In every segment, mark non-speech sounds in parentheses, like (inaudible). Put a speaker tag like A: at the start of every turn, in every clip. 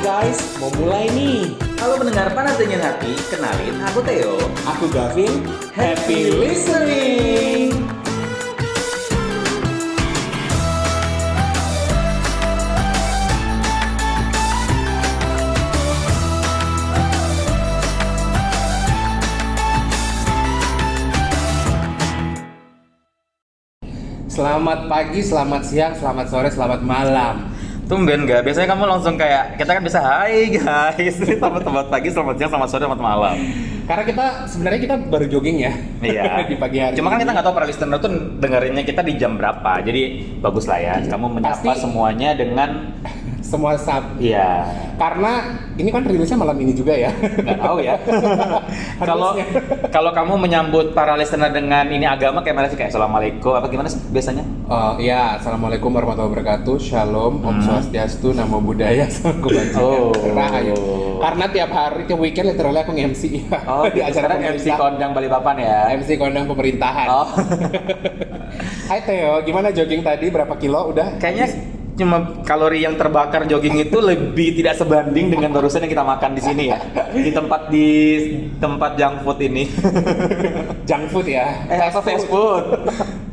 A: Mau mulai nih.
B: Halo pendengar panas dingin hati, kenalin aku Theo.
A: Aku Gavin. Happy listening. Selamat pagi, selamat siang, selamat sore, selamat malam.
B: Tumben gak? Biasanya kamu langsung kayak kita kan bisa Hai guys, (laughs) ini selamat pagi, selamat siang, selamat sore, selamat malam.
A: Karena kita sebenarnya kita baru jogging ya.
B: Iya.
A: (laughs) di pagi hari.
B: Cuma kan
A: ini.
B: kita nggak tahu para listener tuh dengerinnya kita di jam berapa. Jadi bagus lah ya. Kamu menyapa
A: Iya, Pasti-
B: semuanya dengan
A: semua sab.
B: Iya.
A: Karena ini kan rilisnya malam ini juga ya. (laughs)
B: Nggak tahu ya. Kalau
A: Harusnya.
B: kalau kamu menyambut para listener dengan ini agama kayak mana sih kayak assalamualaikum apa gimana sih biasanya?
A: Eh, ya, assalamualaikum warahmatullahi wabarakatuh. Shalom, Om Swastiastu, Namo Buddhaya, (laughs) Salam Kebajikan,
B: Hmm. Oh.
A: Rahayu. Karena tiap hari tiap weekend literally aku (laughs) nge-MC
B: Oh,
A: di acara
B: sekarang MC
A: pemerintah.
B: Kondang Balikpapan ya.
A: MC kondang pemerintahan.
B: Oh.
A: Hai Theo, gimana jogging tadi? Berapa kilo udah?
B: Kayaknya cuma kalori yang terbakar jogging itu lebih tidak sebanding dengan barusan yang kita makan di sini ya. Di tempat di tempat junk food ini.
A: Junk food ya.
B: Eh, apa (laughs) fast food?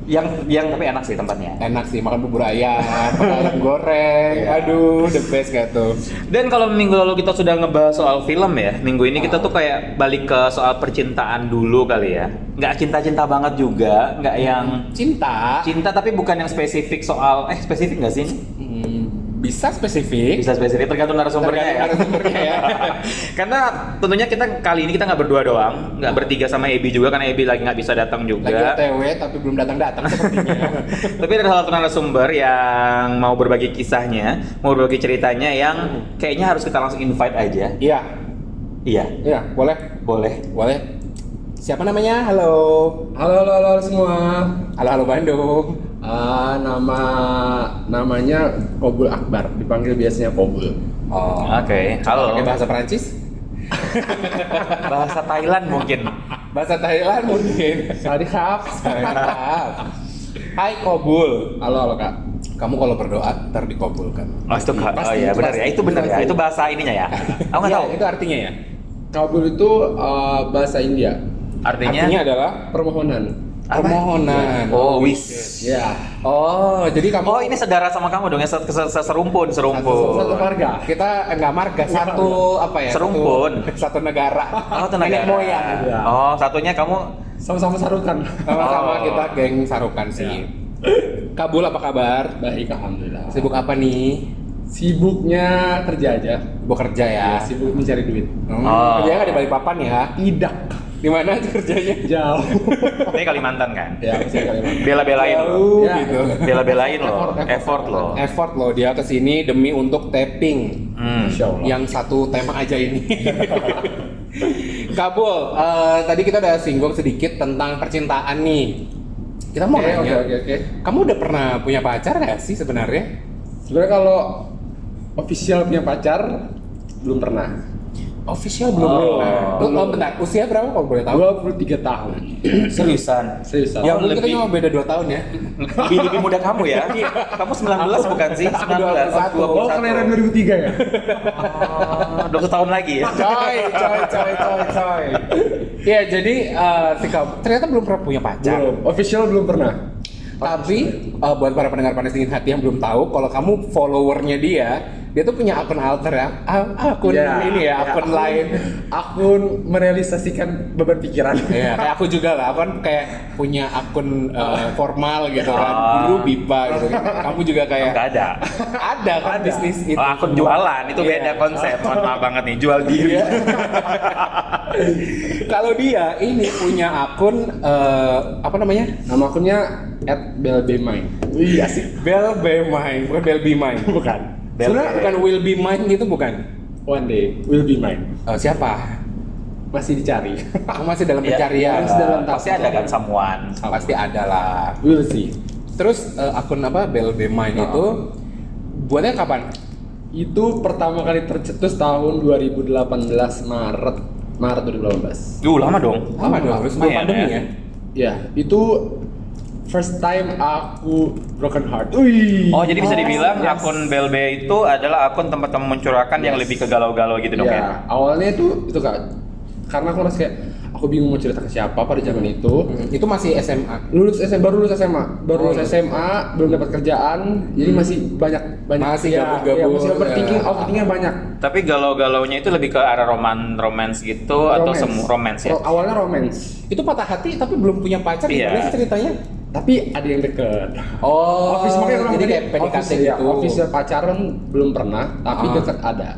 B: yang yang tapi enak sih tempatnya.
A: Enak sih makan bubur ayam, makan
B: (laughs)
A: ayam goreng.
B: Iya.
A: Aduh, the best gak tuh?
B: Dan kalau minggu lalu kita sudah ngebahas soal film ya, minggu ini kita tuh kayak balik ke soal percintaan dulu kali ya. Nggak cinta-cinta banget juga, nggak yang
A: Cinta.
B: cinta tapi bukan yang spesifik soal eh spesifik nggak sih? ini?
A: Hmm, bisa spesifik.
B: Bisa spesifik tergantung narasumbernya ya.
A: Tergantung narasumbernya
B: (laughs)
A: ya.
B: karena tentunya kita kali ini kita nggak berdua doang, nggak bertiga sama Ebi juga karena Ebi lagi nggak bisa datang juga.
A: Iya. Lagi OTW tapi belum datang-datang sepertinya.
B: (laughs) Tapi ada salah satu narasumber yang mau berbagi kisahnya, mau berbagi ceritanya yang kayaknya harus kita langsung invite aja.
A: Iya,
B: Iya,
A: Hmm. iya, boleh.
B: boleh.
A: Boleh. Siapa namanya? Halo.
C: Halo, halo, halo semua.
A: Halo, halo Bandung.
C: Ah, nama namanya Kobul Akbar, dipanggil biasanya Kobul.
A: Oh.
B: Oke, halo.
A: Pakai bahasa Perancis?
B: Bahasa Thailand mungkin.
A: Bahasa Thailand mungkin.
C: Tadi Kak.
A: Mantap. Hai Kobul.
C: Halo, halo Kak.
A: Kamu kalau berdoa ntar dikabulkan.
B: Oh, itu nggak- oh
A: Pasti,
B: iya,
A: itu
B: benar
A: pasti,
B: ya. Itu benar ya.
A: pasti.
B: Itu bahasa ininya
A: (laughs)
B: ya. Aku nggak
A: Iya,
B: tahu.
A: Itu artinya ya.
C: Kobul itu eh, bahasa India,
B: Artinya,
A: Artinya adalah
C: permohonan.
B: Apa?
A: permohonan.
B: Oh, wish.
C: Ya.
A: Oh, jadi kamu
B: Oh, ini saudara sama kamu dong, ya se- se- se- serumpun, serumpun.
C: Satu keluarga.
A: kita enggak marga satu apa ya?
B: Serumpun.
A: Satu, satu negara.
B: (laughs) Oh, tenaga.
A: Nenek moyang.
C: Iya.
B: Oh, satunya kamu
C: Sama-sama sarukan.
A: Sama-sama
B: Oh.
A: kita geng sarukan sih. Kabul apa kabar?
C: Baik, alhamdulillah.
A: Sibuk apa nih?
C: Sibuknya kerja aja.
A: Bekerja ya.
C: Ya, sibuk mencari duit.
A: Hmm,
B: Oh.
A: Kerja nggak di Balikpapan ya?
C: Tidak
A: Di mana tuh kerjanya?
C: jauh.
B: ini Kalimantan kan?
C: (laughs) ya, masih Kalimantan. (laughs)
B: Bela-belain loh.
A: Jauh
C: Ya.
A: gitu.
B: Bela-belain loh.
C: Effort,
B: Effort
C: effort.
B: loh.
A: Effort loh dia kesini demi untuk taping
B: Hmm.
C: Insya Allah.
A: yang satu tema aja
C: (laughs)
A: ini. Kabul, eh, tadi kita udah singgung sedikit tentang percintaan nih. Kita mau
C: Oke,
A: nanya,
C: oke, oke, oke.
A: kamu udah pernah punya pacar nggak sih sebenarnya?
C: Sebenarnya kalau official punya pacar belum pernah.
A: Official
B: belum pernah.
A: pernah. Tuh, oh, bentar, usia berapa kalau boleh tahu?
C: 23 tahun.
B: Seriusan.
C: Seriusan.
A: Ya,
B: Ya,
A: mungkin kita
B: lebih-
A: cuma beda 2 tahun ya.
B: Lebih, lebih muda kamu ya? Kamu 19 bukan sih? 19,
A: Aku
B: oh,
C: 21.
B: 21.
C: 2003 ya?
B: Oh, 20 tahun lagi ya?
A: coy, coy, coy, coy, coy. Iya, jadi eh, si Kabul ternyata belum pernah punya pacar.
C: belum. Official belum pernah.
A: Tapi eh, buat para pendengar panas dingin hati yang belum tahu, kalau kamu followernya dia, dia tuh punya akun alter ya, a- akun
B: Iya.
C: Ya,
A: ini ya, akun lain.
C: Akun merealisasikan beban pikiran.
A: Iya, kayak aku juga lah, aku kan kayak punya akun eh, formal gitu kan,
B: Ah.
A: dulu bipa gitu. kan. Kamu juga kayak
B: Enggak ada.
A: ada kan
C: Ada.
A: bisnis itu.
B: Oh, akun jualan itu
A: Iya.
B: beda konsep. Mohon maaf banget nih, jual
C: Iya.
B: diri.
A: Kalau dia ini punya akun eh, apa namanya?
C: (laughs) Nama akunnya at belbemine. Wih, asik.
A: Bell Be Mine, bukan Bell Be Mine.
C: Bukan.
B: Bel-
A: Sebenarnya bukan Will Be Mine gitu bukan?
C: One day will be mine.
A: Eh, siapa?
C: Masih dicari.
A: Aku masih dalam
B: Iya.
A: pencarian.
C: Masih dalam
B: Pasti ada kan someone.
A: Pasti ada lah.
C: Will see.
A: Terus eh, akun apa Bell Be Mine itu buatnya kapan?
C: Itu pertama kali tercetus tahun 2018 Maret. Maret 2018.
B: Duh, lama dong.
A: Lama dong, ya? harus sebelum
B: Lumayan,
A: pandemi
B: ya.
A: ya.
C: Ya, itu First time aku broken heart. Ya, Wih.
B: Oh, jadi bisa dibilang
C: Yes.
B: akun Belbe itu adalah akun tempat kamu mencurahkan yang lebih ke galau-galau gitu dong ya?
C: Iya, awalnya itu itu kak, karena aku merasa kayak aku bingung mau cerita ke siapa pada zaman itu.
A: Hmm, Itu masih SMA.
C: Lulus SMA baru lulus SMA,
A: Oh,
C: baru lulus
A: lulus.
C: SMA, belum dapat kerjaan, jadi masih banyak banyak
A: Masih
C: ya,
A: gabung-gabung,
C: ya, masih
A: ya.
C: overthinking, overthinkingnya banyak.
B: Tapi galau-galaunya itu lebih ke arah roman romance
A: Oh,
B: gitu atau
C: Romance.
B: semua romance ya?
C: Ro- awalnya romance,
A: Itu patah hati tapi belum punya pacar
B: Iya.
A: gimana sih cerititanya?
C: tapi ada yang deket.
A: Oh,
C: office makanya orang
A: jadi
C: tadi,
A: kayak PDKT
C: office, ya,
A: gitu.
C: office pacaran belum pernah, tapi
A: Ah.
C: deket ada.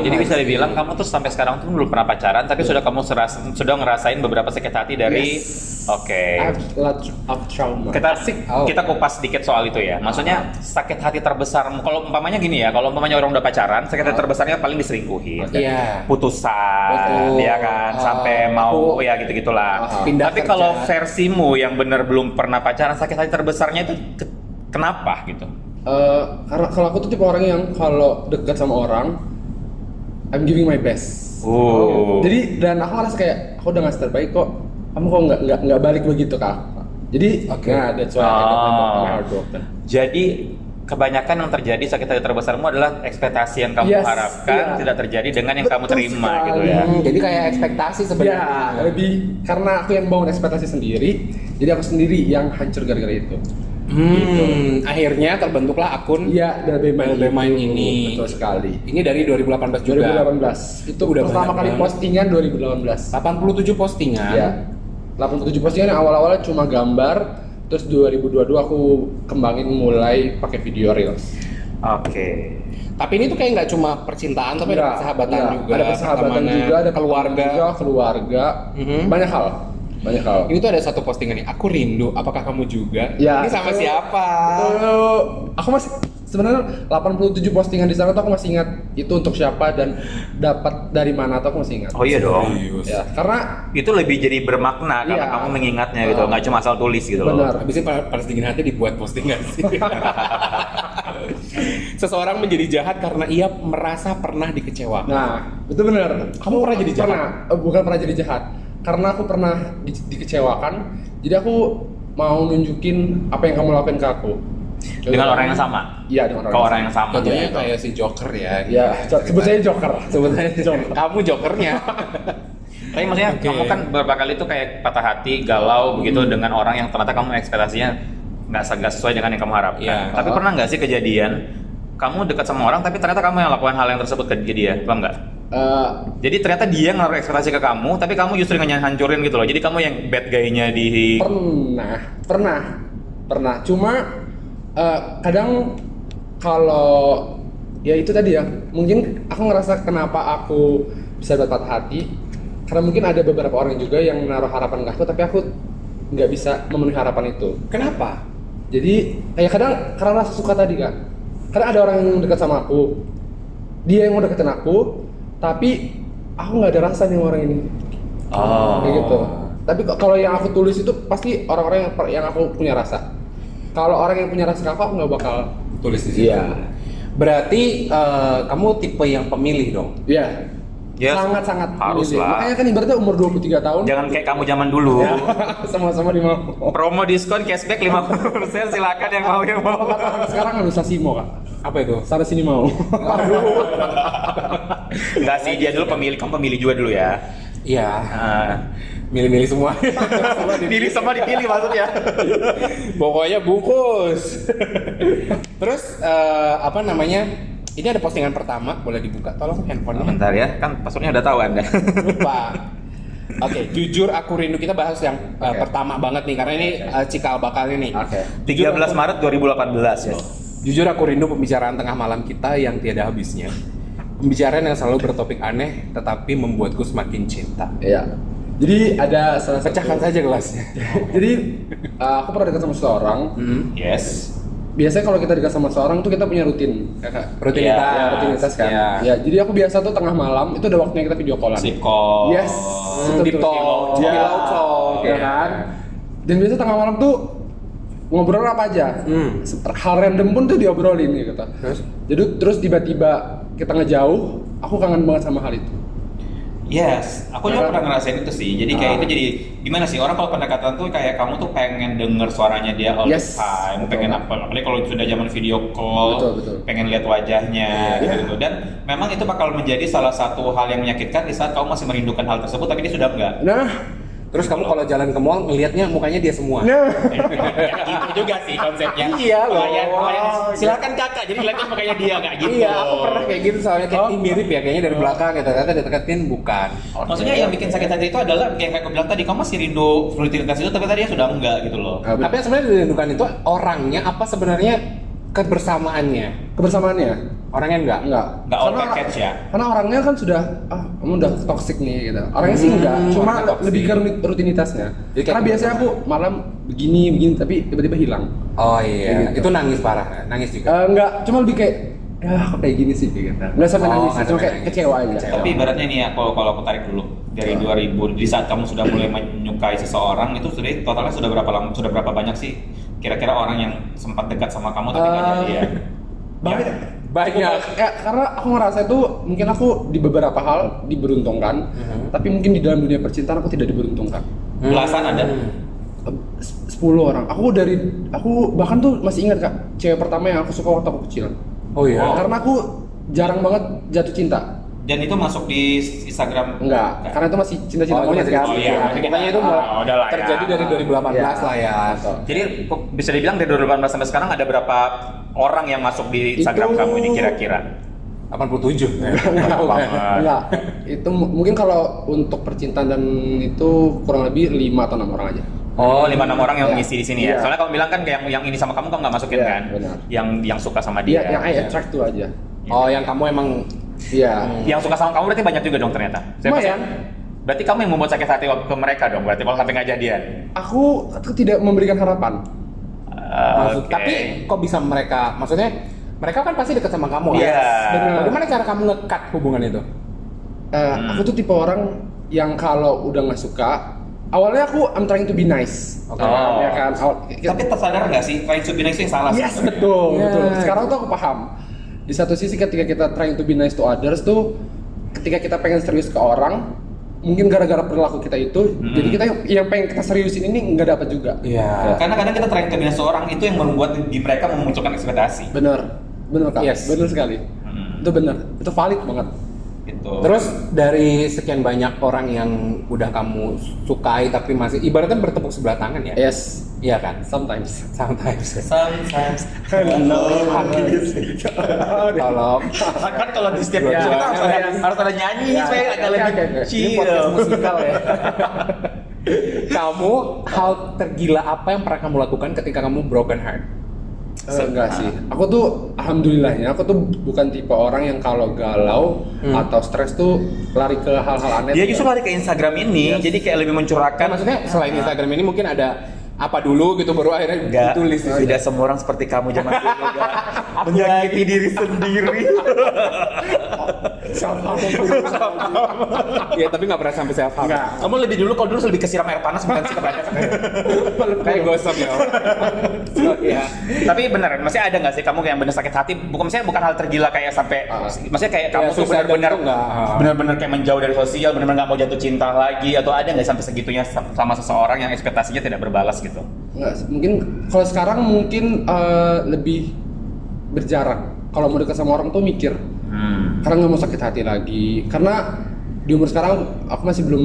A: Hmm,
B: jadi
A: I
B: bisa
A: see. Iya.
B: dibilang kamu tuh sampai sekarang tuh belum pernah pacaran, tapi sudah kamu seras- sudah ngerasain beberapa sakit hati dari, oke.
C: I've lots of trauma.
B: Kita
A: Oh.
B: kita kupas sedikit soal itu ya. Maksudnya sakit hati terbesar. Kalau umpamanya gini ya, kalau umpamanya orang udah pacaran, sakit
A: Ah.
B: hati terbesarnya paling diselingkuhin.
A: Iya.
B: putusan
A: Betul.
B: ya kan
A: Ah,
B: sampai mau
A: aku-
B: ya gitu gitulah
A: Ah, pindah
B: tapi
A: kerja.
B: kalau versimu yang bener belum pernah pacaran sakit hati terbesarnya itu ke- kenapa gitu
C: Eh, karena kalau aku tuh tipe orang yang kalau dekat sama orang I'm giving my best.
B: Oh.
C: Jadi dan aku ngerasa kayak aku udah ngasih terbaik kok. Kamu kok nggak nggak nggak balik begitu kak? Jadi
A: Oke. Ah.
C: nah that's why I got my
B: Oh.
C: heart broken.
B: jadi kebanyakan yang terjadi sakit hati terbesarmu adalah ekspektasi yang kamu
C: Yes,
B: harapkan
C: iya.
B: tidak terjadi dengan yang kamu
C: Betul
B: terima
C: sekali.
B: gitu ya
A: Hmm, jadi kayak ekspektasi
C: Ya
A: sebenarnya.
C: lebih karena aku yang bangun ekspektasi sendiri. Jadi aku sendiri yang hancur gara-gara itu. gitu.
A: Hmm, akhirnya terbentuklah akun
C: Iya dari Bemain
A: Dari Bemain
C: itu.
A: ini.
C: betul sekali.
A: ini dari 2018 juga.
C: 2018 itu
A: Udah
C: pertama
A: banyak
C: kali
A: banget.
C: postingan 2018.
A: 87 postingan.
C: Iya. 87 postingan yang kan awal-awalnya cuma gambar, terus 2022 aku kembangin mulai pakai video reels.
B: oke
A: Tapi ini tuh kayak nggak cuma percintaan, tapi ada
C: Enggak,
A: persahabatan
C: enggak.
A: juga,
C: Ya, Iya. Ada persahabatan
A: pertemanan,
C: juga, ada
A: keluarga.
C: juga, keluarga.
A: Mhm.
C: Banyak hal. Banyak hal.
A: Ini tuh ada satu postingan nih, aku rindu, apakah kamu juga?
C: Ya.
A: Ini sama
C: Itu-
A: siapa?
C: Itu, aku masih sebenarnya 87 postingan di sana tuh aku masih ingat itu untuk siapa dan dapat dari mana tuh aku masih ingat.
B: oh iya dong
A: Serius.
C: Ya, karena
B: itu lebih jadi bermakna karena
C: Iya.
B: kamu mengingatnya gitu
C: Ah.
B: nggak cuma asal tulis gitu loh
C: Benar.
A: Habis ini pada pada sedingin hati dibuat postingan sih. Seseorang menjadi jahat karena ia merasa pernah dikecewakan.
C: Nah, itu benar.
A: Kamu pernah jadi jahat?
C: Pernah, Eh, bukan pernah jadi jahat. Karena aku pernah di- dikecewakan, jadi aku mau nunjukin apa yang kamu lakuin ke aku.
B: dengan orang yang sama
C: Iya, dengan orang
B: ke
C: yang
B: orang yang sama gitu ya.
A: Contohnya
C: Iya.
A: kayak si Joker ya.
C: Ya,
A: Ceritanya.
C: sebut saya Joker.
A: Sebut (laughs) aja
C: Joker.
A: Kamu jokernya.
B: Tapi maksudnya
A: Oke. Hmm.
B: kamu kan beberapa kali tuh kayak patah hati, galau begitu dengan orang yang ternyata kamu ekspektasinya nggak se- nggak sesuai dengan yang kamu harapkan.
A: Iya.
B: Tapi
C: Oh.
B: pernah nggak sih kejadian kamu dekat sama orang tapi ternyata kamu yang lakukan hal yang tersebut ke ke dia, paham nggak?
C: Eh,
B: Jadi ternyata dia ngaruh ekspektasi ke kamu, tapi kamu justru yang hancurin gitu loh. Jadi kamu yang bad guy-nya di
C: pernah, pernah, pernah. Cuma eh, kadang kalau ya itu tadi ya, mungkin aku ngerasa kenapa aku bisa dapat patah hati karena mungkin ada beberapa orang juga yang menaruh harapan ke aku tapi aku nggak bisa memenuhi harapan itu.
A: Kenapa?
C: Jadi kayak kadang karena rasa suka tadi kak, karena ada orang yang dekat sama aku, dia yang mau deketin aku, tapi aku nggak ada rasa nih sama orang ini,
B: Oh.
C: kayak gitu. Tapi kok- kalau yang aku tulis itu pasti orang-orang yang, per- yang aku punya rasa. Kalau orang yang punya rasa ke aku, aku nggak bakal.
A: Tulis di situ.
C: Iya.
A: Berarti eh, kamu tipe yang pemilih dong.
C: Iya.
B: Ya,
C: Sangat-sangat
B: harus
C: milih.
B: lah. Ya.
C: Makanya kan ibaratnya umur 23 tahun.
B: Jangan kayak kamu zaman dulu.
C: Ya, (laughs) sama-sama di mau.
B: Promo diskon cashback 50% silakan yang mau yang mau.
C: Sekarang nggak bisa simo kak.
A: Apa itu?
C: Sana sini mau.
B: Enggak sih, dia dulu pemilih, kamu pemilih juga dulu ya.
A: Iya,
B: Ah.
A: milih-milih semua.
B: Pilih sama dipilih maksudnya.
A: Pokoknya bungkus. (laughs) Terus eh, apa namanya? Ini ada postingan pertama, boleh dibuka tolong handphonenya.
B: Bentar ya, kan passwordnya udah tahu Anda.
C: (laughs)
A: Lupa. Oke, jujur aku rindu kita bahas yang eh,
C: Oke.
A: pertama banget nih karena ini eh, cikal bakalnya nih.
C: Oke.
B: 13 Maret 2018 loh.
A: Jujur aku rindu pembicaraan tengah malam kita yang tiada habisnya. Pembicaraan yang selalu bertopik aneh tetapi membuatku semakin cinta.
C: Iya. Jadi ada salah satu.
A: Pecahkan saja gelasnya.
C: Jadi uh, aku pernah dekat sama seseorang.
A: Hmm.
B: Yes.
C: Biasanya kalau kita dekat sama seorang tuh kita punya rutin.
A: Kakak,
C: Ya,
A: rutinitas.
B: Iya,
C: rutinitas kan.
A: Iya.
C: Ya, jadi aku biasa tuh tengah malam itu ada waktunya kita video callan.
B: Sleep call.
C: Yes.
A: Hmm, Deep talk,
C: Ya.
A: pillow talk,
C: Ya kan. Dan biasa tengah malam tuh ngobrol apa aja.
A: Hmm.
C: Hal random pun tuh diobrolin ya kata.
A: Terus?
C: Jadi terus tiba-tiba kita ngejauh, aku kangen banget sama hal itu.
D: Yes, aku juga pernah ngerasain itu sih. Jadi kayak itu
A: Ah.
D: jadi gimana sih orang kalau pendekatan tuh kayak kamu tuh pengen denger suaranya dia all
C: Yes.
D: the time,
C: Betul.
D: pengen apa? Apalagi kalau sudah zaman video call,
C: Betul, betul.
D: pengen lihat wajahnya
A: Iya.
D: gitu. Dan memang itu bakal menjadi salah satu hal yang menyakitkan di saat kamu masih merindukan hal tersebut, tapi dia sudah
A: (laughs)
D: enggak.
C: Nah,
A: Terus kamu kalau jalan ke mall ngelihatnya mukanya dia
C: (laughs)
A: semua.
C: nah.
D: gitu juga sih konsepnya.
A: Iya loh.
D: Pelayan, pelayan.
A: Wow,
D: Silakan kakak, jadi lihatnya makanya dia nggak gitu.
A: Iya, aku
B: Oh.
A: pernah kayak gitu soalnya kayak "Ih, mirip ya kayaknya dari belakang ya ternyata deketin bukan.
D: Maksudnya
B: ya-
D: yang bikin sakit hati itu adalah yang kayak aku bilang tadi, kamu masih rindu rutinitas itu, tapi tadi ya sudah enggak gitu loh.
C: Ah,
A: Tapi yang sebenarnya dirindukan itu orangnya apa sebenarnya kebersamaannya?
C: kebersamaannya
A: Orangnya enggak?
C: enggak
D: Enggak all package ya?
C: karena orangnya kan sudah ah kamu udah toxic nih gitu orangnya sih enggak cuma
A: Hmm. orangnya toxic.
C: lebih ke runi- rutinitasnya
A: Jadi kayak
C: karena biasanya aku malam begini begini tapi tiba-tiba hilang
A: Oh iya,
C: Kayak gitu.
A: itu nangis parah, nangis juga.
C: Eh, enggak cuma lebih kayak ah kok kayak gini sih gitu enggak sampai
A: Oh,
C: nangis
A: nggak
C: cuma
A: sampai
C: kayak
A: nangis.
C: kecewa aja
A: Kecewa.
D: Tapi ibaratnya nih ya, kalau kalau aku tarik dulu dari
C: Iya.
D: 2000 di saat kamu sudah mulai menyukai seseorang itu sudah totalnya sudah berapa lama sudah berapa banyak sih kira-kira orang yang sempat dekat sama kamu tapi nggak
C: Ah.
D: jadi ya?
C: Hmm. banyak
A: Banyak.
C: Aku- ya, karena aku ngerasa itu mungkin aku di beberapa hal diberuntungkan
A: Hmm.
C: tapi mungkin di dalam dunia percintaan aku tidak diberuntungkan
D: Belasan ada.
A: Hmm.
C: Eh, se- 10 orang aku dari aku bahkan tuh masih ingat kak cewek pertama yang aku suka waktu aku kecil
A: Oh iya.
D: Wow.
C: Karena aku jarang banget jatuh cinta.
D: Dan itu masuk di Instagram?
C: Enggak, karena itu masih cinta-cinta
A: Oh,
C: banget
A: iya,
C: kan.
D: Oh iya,
A: Ya, makanya itu mulai
D: Ah, udah lah ya.
A: terjadi dari 2018
C: Iya.
A: lah ya.
B: Jadi kok bisa dibilang dari 2018 sampai sekarang ada berapa orang yang masuk di Instagram
C: Itu-
B: kamu ini kira-kira?
A: 87. (laughs) Iya.
C: Enggak. Itu mu- mungkin kalau untuk percintaan dan itu kurang lebih 5 atau 6 orang aja.
B: Oh, lima enam orang yang
C: Iya.
B: mengisi di sini ya.
C: Iya.
B: Soalnya kamu bilang kan kayak yang, yang ini sama kamu kamu nggak masukin
C: Iya,
B: kan?
C: benar.
B: Yang yang suka sama
C: Dia
B: dia.
A: ya,
C: yang I attract tuh aja.
A: Oh, yang kamu emang
C: Iya.
A: Hmm.
B: Yang suka sama kamu berarti banyak juga dong ternyata. Saya
C: Lumayan.
D: kan?
B: pasti- Berarti kamu yang membuat sakit hati waktu ke mereka dong. Berarti kalau sampai nggak jadian.
C: Aku tuh tidak memberikan harapan.
B: Eh,
A: maksud-
B: oke.
A: tapi kok bisa mereka maksudnya mereka kan pasti dekat sama kamu
B: Iya.
A: kan? Bagaimana cara kamu ngekat hubungan itu?
C: Eh,
A: Hmm.
C: aku tuh tipe orang yang kalau udah nggak suka, awalnya aku I'm trying to be nice.
A: Oke.
B: Oh.
C: Ya kan. Awal-
D: Tapi tersadar nggak sih? Trying to be nice yang salah.
C: Yes,
D: sebenarnya.
C: betul,
A: Ya.
C: betul. Sekarang tuh aku paham. Di satu sisi ketika kita trying to be nice to others tuh ketika kita pengen serius ke orang, mungkin gara-gara perilaku kita itu, jadi kita yang pengen kita seriusin ini nggak dapat juga.
A: Iya.
D: Karena kadang kita trying to be nice seorang itu yang membuat di mereka memunculkan ekspektasi.
C: Bener, bener kak.
A: Yes.
C: Bener sekali.
B: Mm.
D: Hmm,
C: Itu bener. Itu valid banget.
D: gitu.
A: Terus dari sekian banyak orang yang udah kamu sukai tapi masih ibaratnya bertepuk sebelah tangan ya?
C: Yes,
A: Iya kan?
C: sometimes.
A: Sometimes.
B: (laughs)
D: Sometimes.
A: Tolong.
D: Kan kalau di
B: Iya.
D: setiap
A: Dua-duanya.
D: cerita harus ada, harus ada nyanyi
C: Ya,
D: supaya
C: ya,
D: agak
C: oke,
D: lebih
C: oke, oke.
D: chill.
C: Ini podcast musikal ya.
A: kamu hal tergila apa yang pernah kamu lakukan ketika kamu broken heart?
C: Eh, enggak sih. Aku tuh alhamdulillahnya aku tuh bukan tipe orang yang kalau galau atau stres tuh lari ke hal-hal aneh.
B: Dia justru lari ke Instagram ini, jadi kayak lebih mencurahkan.
A: Kan maksudnya selain Instagram ini mungkin ada apa dulu gitu baru akhirnya
B: Enggak,
A: ditulis di sini.
B: oh iya. tidak semua orang seperti kamu (laughs) zaman dulu, enggak. menyakiti diri sendiri.
A: (laughs) Iya, tapi nggak pernah sampai self harm.
D: Kamu lebih dulu, kalau dulu lebih kesiram air panas bukan sih kebanyakan.
A: Kayak gosok ya. Oh, iya.
B: Tapi benar, maksudnya ada nggak sih kamu yang benar sakit hati? Bukan maksudnya bukan hal tergila kayak sampai,
C: Ah.
B: maksudnya kayak kamu
A: Ya,
B: tuh
A: suicide
B: benar-benar
A: itu nggak.
B: benar-benar kayak menjauh dari sosial, benar-benar nggak mau jatuh cinta lagi, atau ada nggak sampai segitunya sama seseorang yang ekspektasinya tidak berbalas gitu?
C: Nggak, sih. mungkin kalau sekarang mungkin eh, lebih berjarak. Kalau mau dekat sama orang tuh mikir,
B: Hmm.
C: karena nggak mau sakit hati lagi. Karena di umur sekarang aku masih belum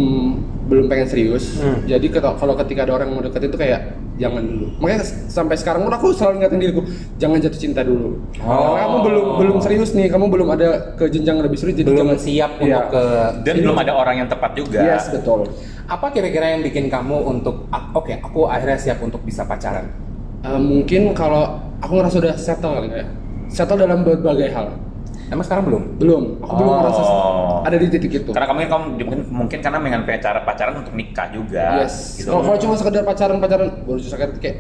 C: belum pengen serius.
A: Hmm.
C: Jadi keto- kalau ketika ada orang yang mau deketin tuh kayak jangan dulu. Makanya s- sampai sekarang pun aku selalu ingatin diriku, jangan jatuh cinta dulu.
A: Oh.
C: Karena kamu belum belum serius nih, kamu belum ada ke jenjang lebih serius. Jadi
A: Belum
C: jangan
A: siap
C: Iya.
A: untuk ke
B: Dan belum ada orang yang tepat juga.
C: Yes, betul.
A: apa kira-kira yang bikin kamu untuk "Ah, oke aku akhirnya siap untuk bisa pacaran
C: Eh, mungkin kalau aku ngerasa udah settle kali ya. Settle dalam berbagai hal.
A: emang sekarang belum
C: belum aku belum
B: Oh.
C: merasa ada di titik itu
B: Karena kamu kamu mungkin mungkin karena dengan cara pacaran untuk nikah juga.
C: yes
B: gitu.
C: kalau kalau cuma sekedar pacaran pacaran baru justru kayak kayak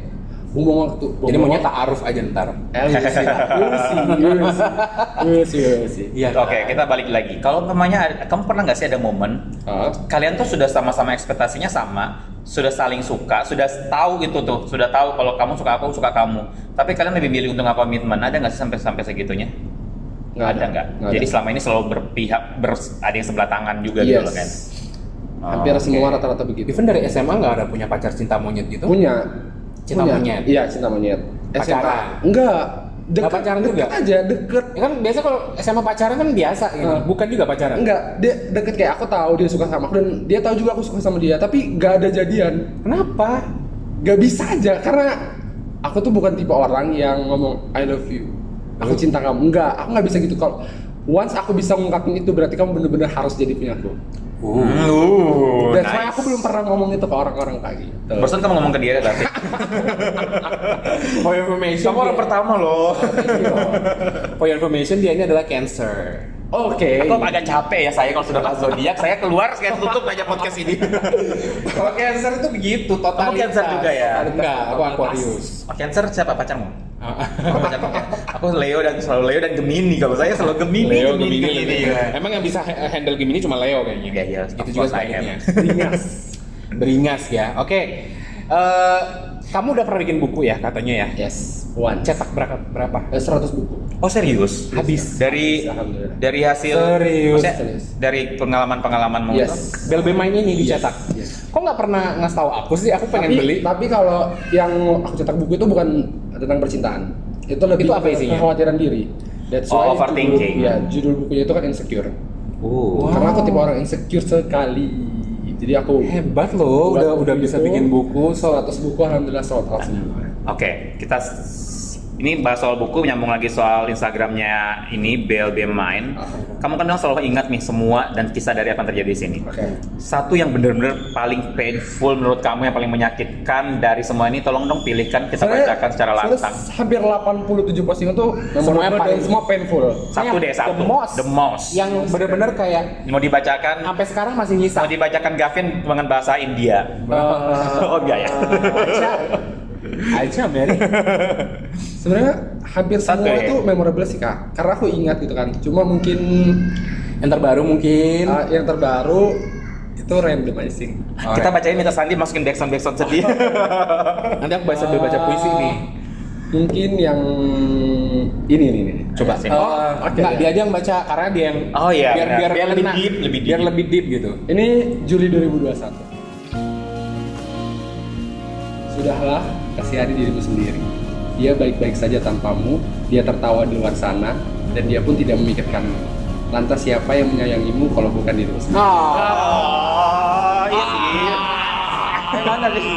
C: bumbung waktu
A: jadi maunya taaruf aja ntar
C: eh we'll see we'll see we'll see. We'll see, we'll see.
A: iya
B: Oke, kita balik lagi. Kalau namanya kamu pernah nggak sih ada momen
C: Ah,
B: kalian tuh sudah sama-sama ekspektasinya sama, sudah saling suka, sudah tahu gitu tuh, sudah tahu kalau kamu suka aku, aku suka kamu. Tapi kalian lebih milih untuk nggak komitmen. Ada nggak sih sampai sampai segitunya?
C: Nggak
B: ada
C: ada.
B: nggak?
C: Nggak
B: Jadi
C: ada.
B: selama ini selalu berpihak ber- ada yang sebelah tangan juga gitu
C: Yes.
B: loh kan? Oh,
C: Hampir
B: oke.
C: semua rata-rata begitu.
A: Even dari SMA nggak ada punya pacar cinta monyet gitu?
C: Punya.
A: Cinta
C: Punya.
A: monyet?
C: Iya, cinta monyet.
A: Pacaran?
C: SMA. Enggak. Deket,
A: pacaran juga?
C: deket aja, deket.
A: Ya kan biasa kalau SMA pacaran kan biasa gitu.
C: Hmm.
A: Bukan juga pacaran.
C: Enggak, dia deket kayak aku tahu dia suka sama aku dan dia tahu juga aku suka sama dia, tapi gak ada jadian.
A: Kenapa?
C: Gak bisa aja karena aku tuh bukan tipe orang yang ngomong I love you. Aku cinta kamu. Enggak, aku nggak bisa gitu kalau once aku bisa ngungkapin itu berarti kamu bener-bener harus jadi punya aku.
E: Hmm,
A: Oh,
E: uh,
C: Dan
E: nice.
C: aku belum pernah ngomong itu ke orang-orang kayak gitu.
B: Barusan kamu ngomong ke dia tadi.
A: For your information.
E: (laughs) Kamu orang
A: dia-
E: pertama loh.
A: For your information dia ini adalah cancer.
C: Oke.
B: Aku agak capek ya saya kalau sudah bahas zodiak, saya keluar saya tutup aja podcast (laughs) ini.
A: Kalau cancer itu begitu totalitas.
B: Kamu Cancer juga ya?
A: Enggak, aku Aquarius.
B: Oh, Cancer siapa pacarmu?
A: Ah,
B: Aku pacarmu kan? Aku Leo dan selalu Leo dan Gemini. Kalau saya selalu Gemini, iya. Gemini.
A: Emang yang bisa ha- handle Gemini cuma Leo kayaknya.
B: Iya, iya,
A: Gitu
B: of
A: juga
B: course I am.
A: sebaliknya. (laughs) Beringas. Beringas ya. Oke. Eh, kamu udah pernah bikin buku ya katanya ya?
C: Yes, one.
A: Cetak berapa? berapa?
C: Eh, 100 buku.
B: Oh serius?
A: Habis.
B: Dari
C: Alhamdulillah.
B: dari hasil
A: Serius.
B: maksudnya
C: Serius.
B: dari pengalaman pengalamanmu
C: Yes.
A: Bel B mainnya ini dicetak.
C: Yes.
A: Kok nggak pernah ngasih tahu aku sih? Aku pengen
C: tapi,
A: beli.
C: Tapi kalau yang aku cetak buku itu bukan tentang percintaan. Itu lebih
A: Itu apa
C: ke
A: isinya?
C: Kekhawatiran diri. That's
B: Oh,
C: why
B: overthinking.
C: Judul, ya, judul bukunya itu kan insecure.
B: Oh.
C: Karena aku tipe orang insecure sekali. Jadi aku
A: Hebat loh, Oh,
C: buat
A: udah
C: buku
A: udah bisa
C: itu,
A: bikin buku. So,
C: 100 buku alhamdulillah sold out semua.
B: Oke, kita s- ini bahas soal buku, nyambung lagi soal Instagramnya ini BLB Mind. Kamu kan dong selalu ingat nih semua dan kisah dari apa yang terjadi di sini.
C: Oke.
B: Satu yang benar-benar paling painful menurut kamu yang paling menyakitkan dari semua ini, tolong dong pilihkan kita
C: Sebenarnya-
B: bacakan secara
C: sebenarnya
B: lantang.
C: Hampir 87 postingan tuh
A: Semuanya
C: memorable dan
A: paling-
C: semua painful.
B: Satu deh, satu.
A: The most.
B: The most.
A: yang bener-bener kayak
B: Mau dibacakan,
A: sampai sekarang masih nyisa.
B: mau dibacakan Gavin dengan bahasa India.
C: Eh,
A: Eh,
B: (laughs) oh enggak ya. (laughs)
A: Aja, aja Mary.
C: Sebenarnya hampir
B: Satu
C: semua
B: ya?
C: itu memorable sih kak. Karena aku ingat gitu kan. Cuma mungkin
A: Yang terbaru mungkin.
B: Ah.
C: uh, yang terbaru itu randomizing.
B: Kita bacain minta Sandi masukin backsound backsound
A: (laughs)
B: sedih.
A: Nanti aku baca sambil baca puisi nih.
C: Mungkin yang ini nih. nih.
B: Coba sih.
C: Eh,
A: Oh,
C: oke,
A: enggak,
C: ya.
A: dia aja yang baca karena dia yang
B: Oh, iya,
A: biar,
B: benar.
A: biar,
B: Biar lebih
A: kena.
B: deep, lebih deep.
A: biar lebih deep gitu.
C: Ini Juli 2021. Sudahlah, kasihani dirimu sendiri. Dia baik-baik saja tanpamu, dia tertawa di luar sana, dan dia pun tidak memikirkanmu. Lantas siapa yang menyayangimu kalau bukan dirimu sendiri? Nah.
B: Oh, iya sih.
A: eh,
B: Mana sih?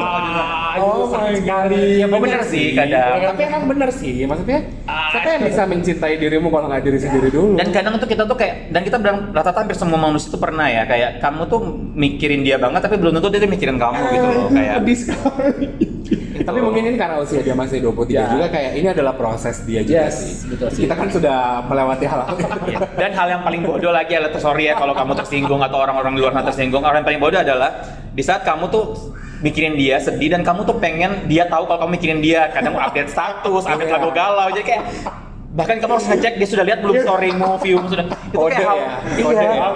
A: Oh, my god. Ya,
B: Oh, bener sih kadang. Ah,
A: Tapi emang bener sih, maksudnya siapa yang bisa mencintai dirimu kalau nggak diri sendiri dulu?
B: Dan kadang tuh kita tuh kayak dan kita bilang rata-rata hampir semua manusia tuh pernah ya kayak kamu tuh mikirin dia banget tapi belum tentu dia tuh mikirin kamu gitu
A: Eh,
B: loh kayak.
A: Pedih sekali. Tapi mungkin ini karena usia dia masih 23
C: Ya.
A: juga kayak ini adalah proses dia juga
C: Yes,
A: sih.
C: betul sih.
A: Kita kan sudah melewati hal-hal itu.
B: Iya. Dan hal yang paling bodoh lagi adalah sorry ya kalau kamu tersinggung atau orang-orang di luar sana tersinggung. Orang yang paling bodoh adalah di saat kamu tuh mikirin dia sedih dan kamu tuh pengen dia tahu kalau kamu mikirin dia. Kadang update status, update
A: Iya.
B: lagu galau. Jadi kayak bahkan kamu harus ngecek dia sudah lihat belum storymu, viewmu sudah. Itu
A: Kode
B: kayak hal,
A: ya, kode
B: iya.
A: ya.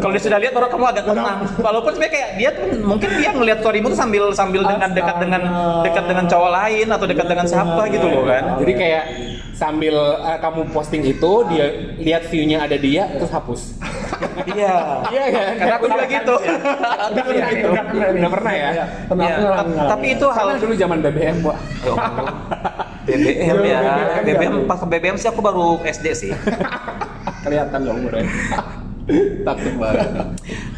B: Kalau dia sudah lihat baru kamu agak tenang. Walaupun sebenarnya kayak dia tuh mungkin dia ngelihat storymu tuh sambil sambil dengan dekat dengan dekat dengan cowok lain atau dekat dengan siapa gitu loh kan.
A: Iya. Jadi kayak sambil eh, kamu posting itu dia lihat view-nya ada dia terus hapus.
B: Iya.
A: Iya (laughs) kan?
B: Karena aku juga gitu.
A: Udah pernah itu. Udah pernah ya?
C: Pernah
B: Iya,
C: aku ngalamin,
B: tap-
C: ngalamin.
B: tapi itu hal (laughs)
A: Karena dulu zaman BBM, Wak.
B: BBM ya.
C: BBM,
B: BBM pas ke BBM sih aku baru SD
C: (laughs)
B: sih.
C: kelihatan dong umurnya. (laughs) Takut banget.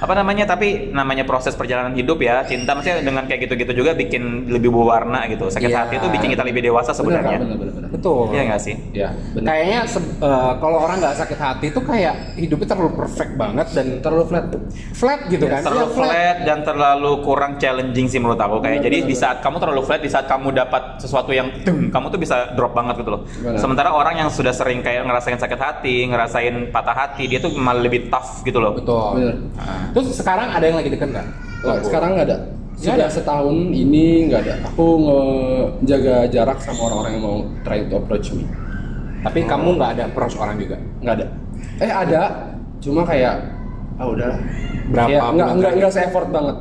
B: Apa namanya? Tapi namanya proses perjalanan hidup ya. Cinta maksudnya dengan kayak gitu-gitu juga bikin lebih berwarna gitu. Sakit
A: Iya.
B: hati itu bikin kita lebih dewasa
C: Benar, Kak,
B: sebenarnya.
C: benar, benar, benar.
A: Betul.
B: Iya nggak sih?
C: Ya, benar.
A: Kayaknya se- eh, kalau orang nggak sakit hati itu kayak hidupnya terlalu perfect banget dan
C: Terlalu flat.
A: flat gitu kan?
B: Terlalu
A: Iya,
B: flat dan terlalu kurang challenging sih menurut aku kayak.
C: Benar,
B: Jadi
C: benar,
B: di
C: benar.
B: saat kamu terlalu flat, di saat kamu dapat sesuatu yang dung, kamu tuh bisa drop banget gitu loh.
C: Benar.
B: Sementara orang yang sudah sering kayak ngerasain sakit hati, ngerasain patah hati, dia tuh malah lebih tough gitu loh.
A: Betul.
C: Benar.
B: Ah.
A: Terus sekarang ada yang lagi deket nggak?
C: Oh, sekarang nggak ada.
A: Nggak
C: Sudah
A: ada?
C: setahun ini nggak ada. Aku ngejaga jarak sama orang-orang yang mau try to approach me.
A: Tapi
B: Oh.
A: kamu nggak ada approach orang juga.
C: Nggak ada. Eh ada, cuma kayak ah udahlah.
A: Berapa
C: Kayak nggak
A: bulan
C: nggak
A: terakhir?
C: nggak se-effort banget.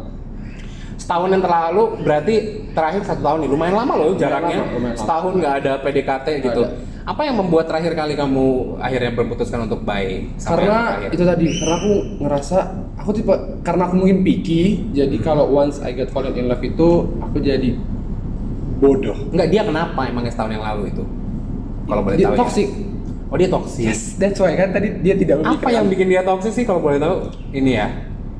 A: Setahun yang terlalu berarti terakhir satu tahun nih lumayan lama loh jaraknya.
C: lama, lumayan lama.
A: Setahun nggak ada PDKT gitu.
C: ada.
A: Apa yang membuat terakhir kali kamu akhirnya berputuskan untuk bye? sampai
C: karena
A: yang terakhir?
C: itu tadi karena aku ngerasa aku tipe karena aku mungkin picky jadi kalau once I get fallen in love itu aku jadi bodoh
A: Enggak, dia kenapa emangnya setahun yang lalu itu? Kalau boleh
C: Dia
A: tahu. ya?
C: toxic.
A: Oh, dia toxic.
C: yes that's why kan tadi dia tidak
A: Apa
C: memikirkan.
A: yang bikin dia toxic sih kalau boleh tahu? Ini ya.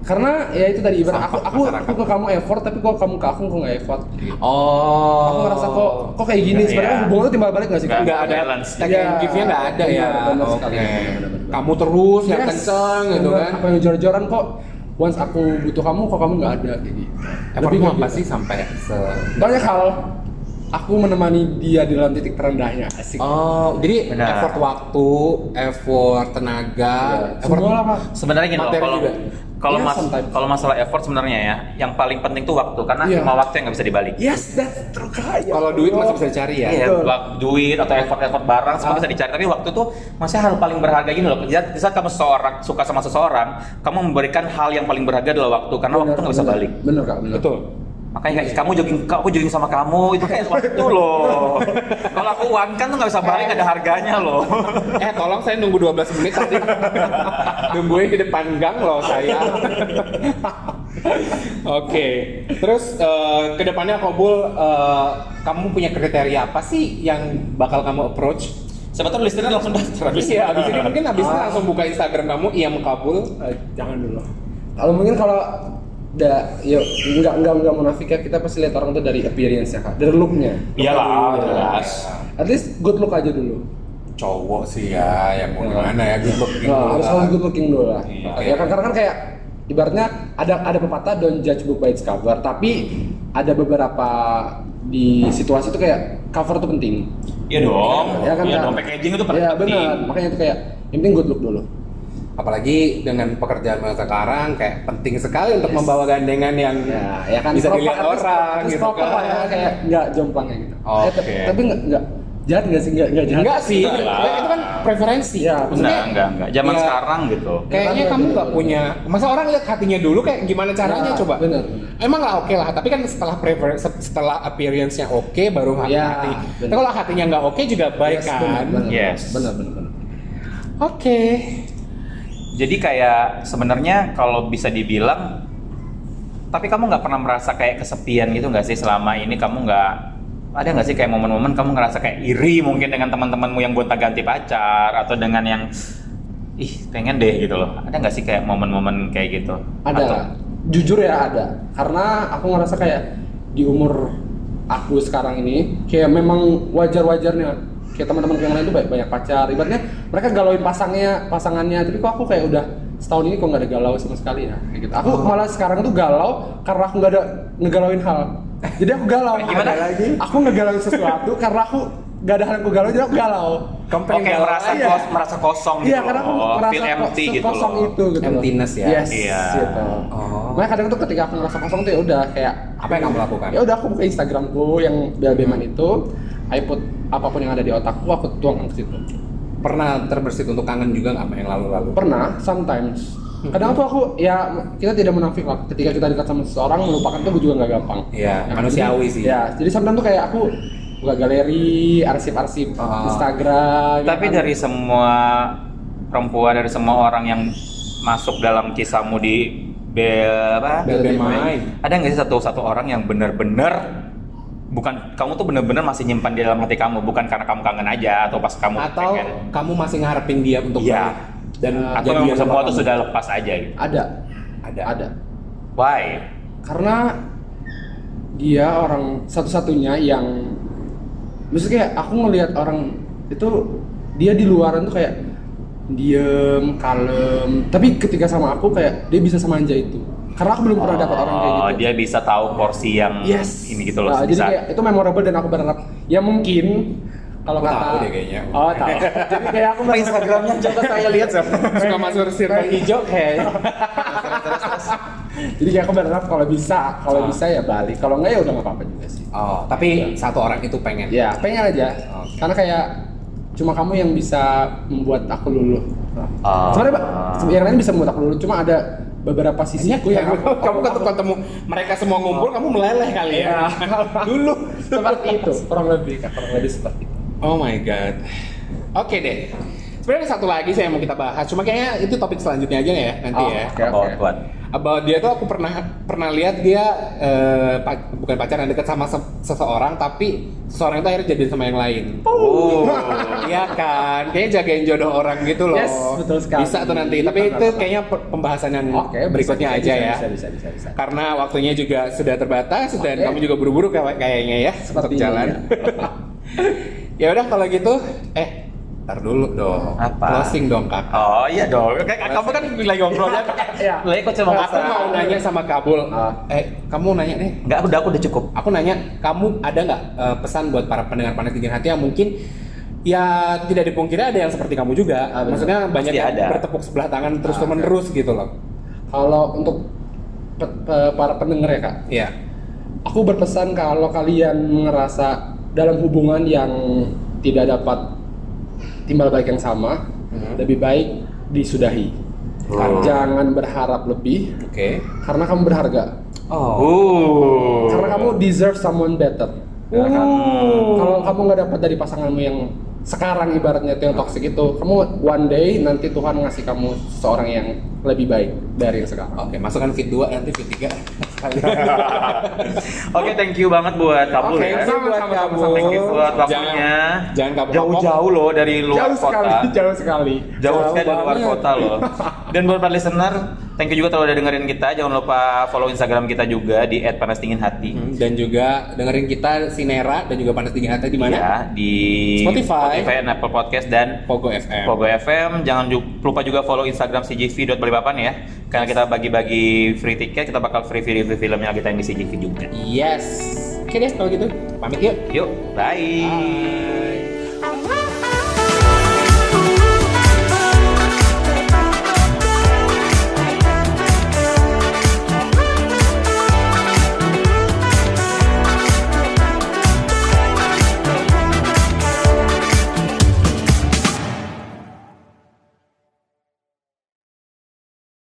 C: karena ya itu tadi ibarat aku
A: Sampah
C: aku
A: masyarakat.
C: aku ke kamu effort tapi kok kamu ke aku kok nggak effort
A: Oh.
C: aku ngerasa kok kok kayak gini
B: Iya.
C: sebenarnya hubungan tuh timbal balik nggak sih kan?
A: enggak
B: Nggak.
A: ada
B: Balance.
A: take and
C: Iya.
A: give-nya enggak ada ya.
C: Iya, benar
A: Oke.
C: sekali. Benar, benar.
A: Kamu terus yang
C: Yes.
A: kenceng gitu
C: Enggak,
A: kan.
C: apa yang jor-joran kok once aku butuh kamu kok kamu nggak ada jadi
A: Effort
C: ke
A: apa
C: gitu.
A: sih sampai se
C: banyak hal aku menemani dia di dalam titik terendahnya asik
A: Oh, jadi
B: Benar.
A: effort waktu, effort tenaga,
C: Iya.
A: effort
C: semua lah pak
B: Sebenarnya gini loh,
A: Materi
B: kalau
A: juga.
B: kalau
C: Iya,
B: mas
C: sometimes.
B: kalau masalah effort sebenarnya ya, yang paling penting tuh waktu karena
C: Iya.
B: cuma waktu yang nggak bisa dibalik.
C: yes that's true kaya
A: Kalau duit masih bisa dicari ya.
B: Iya,
C: Betul.
B: wak- duit atau effort-effort barang semua
A: Ah.
B: bisa dicari tapi waktu tuh masih hal paling berharga gini loh. Di saat- Di saat kamu seorang suka sama seseorang, kamu memberikan hal yang paling berharga adalah waktu karena waktu nggak bisa balik.
C: bener kak bener
A: Betul.
B: Makanya
A: Iya.
B: kayak kamu jogging, kak, aku jogging sama kamu itu
A: (laughs)
B: kayak waktu loh. Kalau aku uang kan tuh nggak bisa balik ada harganya loh.
A: Eh, tolong saya nunggu 12 menit (laughs) tadi. Nungguin di depan gang loh (laughs) saya. Oke. Terus eh, ke depannya Kobul eh, kamu punya kriteria apa sih yang bakal kamu approach?
B: Sebetulnya listernya langsung daftar. habis
A: Iya, habis ini mungkin habis ini langsung buka Instagram kamu Iam Kabul.
C: Eh, jangan dulu kalau mungkin kalau da ya nggak nggak nggak munafik ya kita pasti lihat orang tuh dari appearance nya kak dari looknya
B: Iyalah, Iya jelas.
C: at least good look aja dulu
A: Cowok sih ya, yang mau gimana ya gitu.
C: Nah, harus selalu good looking dulu lah.
A: Iya.
C: Ya kan karena kan kayak ibaratnya ada ada pepatah don't judge book by its cover, tapi ada beberapa di situasi itu kayak cover tuh penting.
B: Iya dong.
C: Ya kan,
B: Iya
C: Kak?
B: dong, packaging itu
C: Iya,
B: penting.
C: benar. Makanya itu kayak yang penting good look dulu.
A: Apalagi dengan pekerjaan lo sekarang kayak penting sekali untuk
C: Yes.
A: membawa gandengan yang
C: Ya, ya kan
A: bisa
C: proper,
A: dilihat
C: at least-
A: orang
C: at least
A: gitu
C: proper
A: kan.
C: lah ya, kayak nggak jomplang kayak gitu.
A: Oke.
C: Ya, tapi- tapi nggak nggak jahat nggak sih nggak nggak jahat.
A: Enggak sih,
B: Enggak lah.
A: itu kan preferensi.
C: Iya,
B: Enggak, enggak, enggak. Zaman
A: Iya.
B: sekarang gitu.
A: Kayaknya
C: Bener,
A: kamu
C: bener,
A: nggak
C: bener.
A: punya, masa orang lihat hatinya dulu kayak gimana caranya
C: Nah,
A: coba?
C: bener, bener.
A: Emang lah oke lah, tapi kan setelah prefer, setelah appearance-nya oke baru hati.
C: Ya,
A: hati.
C: bener.
A: Tapi kalau hatinya nggak oke juga baik
C: Yes,
A: kan?
C: benar, benar,
B: Yes.
C: Benar benar benar.
A: Oke.
B: Jadi kayak sebenarnya kalau bisa dibilang, tapi kamu nggak pernah merasa kayak kesepian gitu nggak sih selama ini kamu nggak ada nggak sih kayak momen-momen kamu ngerasa kayak iri mungkin dengan teman-temanmu yang gonta-ganti pacar atau dengan yang ih pengen deh gitu loh ada nggak sih kayak momen-momen kayak gitu
C: ada
B: Atau-
C: jujur ya ada karena aku ngerasa kayak di umur aku sekarang ini kayak memang wajar-wajarnya kayak teman-teman yang lain tuh banyak, banyak pacar ibaratnya mereka galauin pasangnya pasangannya tapi kok aku kayak udah setahun ini kok nggak ada galau sama sekali ya kayak gitu aku
B: Oh.
C: malah sekarang tuh galau karena aku nggak ada ngegalauin hal jadi aku galau
B: Gimana?
C: Ada lagi aku ngegalauin sesuatu karena aku nggak ada hal yang aku galau jadi aku galau
A: Kamu
B: Oke, merasa
C: Iya.
B: kos, merasa kosong gitu.
C: Iya, karena aku
B: loh.
C: merasa
B: feel empty
C: kok-
B: gitu
C: kosong
B: loh.
C: itu gitu. loh.
A: Emptiness ya?
C: Yes,
B: Iya.
C: gitu.
A: Oh.
C: Makanya kadang tuh ketika aku ngerasa kosong tuh ya udah kayak
A: Apa yang kamu lakukan? Hmm.
C: Ya udah aku buka Instagramku yang bebeman itu, I put apapun yang ada di otakku aku tuangkan ke situ.
A: Pernah terbersit untuk kangen juga nggak sama yang lalu-lalu?
C: Pernah sometimes
A: Hmm.
C: kadang tuh aku ya kita tidak munafik lah ketika kita dekat sama seseorang melupakan tuh juga nggak gampang
A: Iya,
C: Yang
A: manusiawi
C: penting-
A: sih.
C: ya jadi sometimes tuh kayak aku buka galeri arsip-arsip
A: Ah.
C: Instagram ya
B: Tapi
C: kan.
B: dari semua perempuan, dari semua orang yang masuk dalam kisahmu di Be, apa?
A: Bebe Mai.
B: Ada nggak sih satu satu orang yang benar-benar bukan kamu tuh benar-benar masih nyimpan di dalam hati kamu, bukan karena kamu kangen aja atau pas kamu
A: Atau
B: pengen.
A: kamu masih ngarepin dia untuk
B: Iya.
A: balik? dan
B: atau
A: jadian
B: memang
A: sama
B: semua
A: kamu?
B: tuh sudah lepas aja gitu.
C: ada
A: Ada.
C: ada
B: Why?
C: karena dia orang satu-satunya yang maksudnya kayak aku ngelihat orang itu dia di luaran tuh kayak diem kalem tapi ketika sama aku kayak dia bisa semanja itu karena aku belum pernah dapat orang kayak
B: Oh,
C: gitu
B: dia bisa tahu porsi yang
C: yes
B: ini gitu loh.
C: Nah, jadi
B: bisa.
C: kayak itu memorable dan aku berharap ya mungkin kalau
A: Aku
C: kata
A: tahu deh kayaknya.
C: oh
A: (laughs)
C: tahu jadi kayak aku berharap-
B: Instagramnya coba saya lihat
A: suka masuk circle hijau kayak
C: jadi kayak aku berharap kalau bisa kalau
A: Ah.
C: bisa ya balik kalau enggak ya udah nggak apa-apa juga sih
A: oh
C: Iya.
A: tapi satu orang itu pengen
C: Ya, pengen aja.
A: Oke.
C: Karena kayak cuma kamu yang bisa membuat aku luluh.
A: Ah.
C: Sebenarnya Pak, yang lain bisa membuat aku luluh, cuma ada beberapa sisi aku yang aku-
A: Iya, kamu ketemu, ketemu mereka semua ngumpul kamu meleleh kali ya
C: Iya.
A: (laughs)
C: dulu seperti itu kurang lebih kurang lebih seperti itu
A: oh my god Oke deh. Sebenarnya ada satu lagi sih yang mau kita bahas, cuma kayaknya itu topik selanjutnya aja ya nanti
C: Oh,
A: ya.
C: oke.
B: About what?
A: About dia tuh aku pernah pernah lihat dia eh, pa- bukan pacaran dekat sama se- seseorang, tapi seseorang itu akhirnya jadi sama yang lain.
B: Oh.
A: Iya kan, kayaknya jagain jodoh orang gitu loh.
C: Yes, betul sekali.
A: Bisa tuh nanti, tapi
C: Benar,
A: itu
C: benar.
A: kayaknya pe- pembahasan yang
C: Oke, bisa,
A: berikutnya
C: bisa,
A: aja
C: bisa,
A: ya.
C: Bisa, bisa, bisa, bisa.
A: Karena waktunya juga sudah terbatas dan
C: Oke.
A: kamu juga buru-buru kayak- kayaknya ya
C: Sepertinya,
A: untuk jalan. (laughs) ya udah kalau gitu, eh ntar dulu dong.
B: Apa?
A: Closing dong kakak.
B: Oh iya dong. Kayak kamu kan lagi ngobrolnya.
C: Iya.
B: Lagi kok cuma
A: Aku
B: pasrah.
A: Ya. mau nanya sama Kabul.
C: Ah.
A: Eh kamu nanya deh.
B: Enggak, udah aku udah cukup.
A: Aku nanya, kamu ada nggak eh, pesan buat para pendengar panas dingin hati yang mungkin ya tidak dipungkiri ada yang seperti kamu juga.
C: Ah, benar.
A: Maksudnya banyak
B: Pasti
A: yang
B: ada. Ah,
A: bertepuk sebelah tangan terus menerus gitu loh.
C: Kalau untuk pe- pe- para pendengar ya kak,
A: Iya.
C: aku berpesan kalau kalian ngerasa dalam hubungan yang tidak dapat timbal balik yang sama,
A: Hmm.
C: lebih baik disudahi. Jangan berharap lebih,
A: Oke.
C: karena kamu berharga.
B: Oh.
A: Hmm.
C: Karena kamu deserve someone better. Ya kan?
A: Hmm.
C: Kalau kamu nggak dapat dari pasanganmu yang sekarang ibaratnya itu yang toxic itu, kamu one day nanti Tuhan ngasih kamu seorang yang lebih baik dari yang sekarang.
A: Oke, masukkan fit 2 nanti fit 3.
B: Oke, thank you banget buat kamu
A: Oke,
B: ya.
A: sama-sama, sama-sama.
B: Thank you buat waktunya.
A: Oh. Jangan- jangan kabur.
B: jauh-jauh loh dari luar
C: jauh
B: kota.
C: sekali, jauh sekali.
B: jauh sekali dari luar
A: banget.
B: kota loh. Dan buat para listener, thank you juga kalau udah dengerin kita. Jangan lupa follow Instagram kita juga di @panasdinginhati.
A: Hmm, dan juga dengerin kita Sinera dan juga Panas Dingin Hati di mana?
B: Ya, di
A: Spotify. Ya.
B: dan Apple Podcast dan
A: Pogo FM.
B: Pogo FM. Jangan ju- lupa juga follow Instagram cjv.balikpapan ya. Karena kita bagi-bagi free ticket, kita bakal free review filmnya kita yang di CJV juga.
A: Yes. Oke deh kalau gitu. Pamit yuk.
B: Yuk, bye.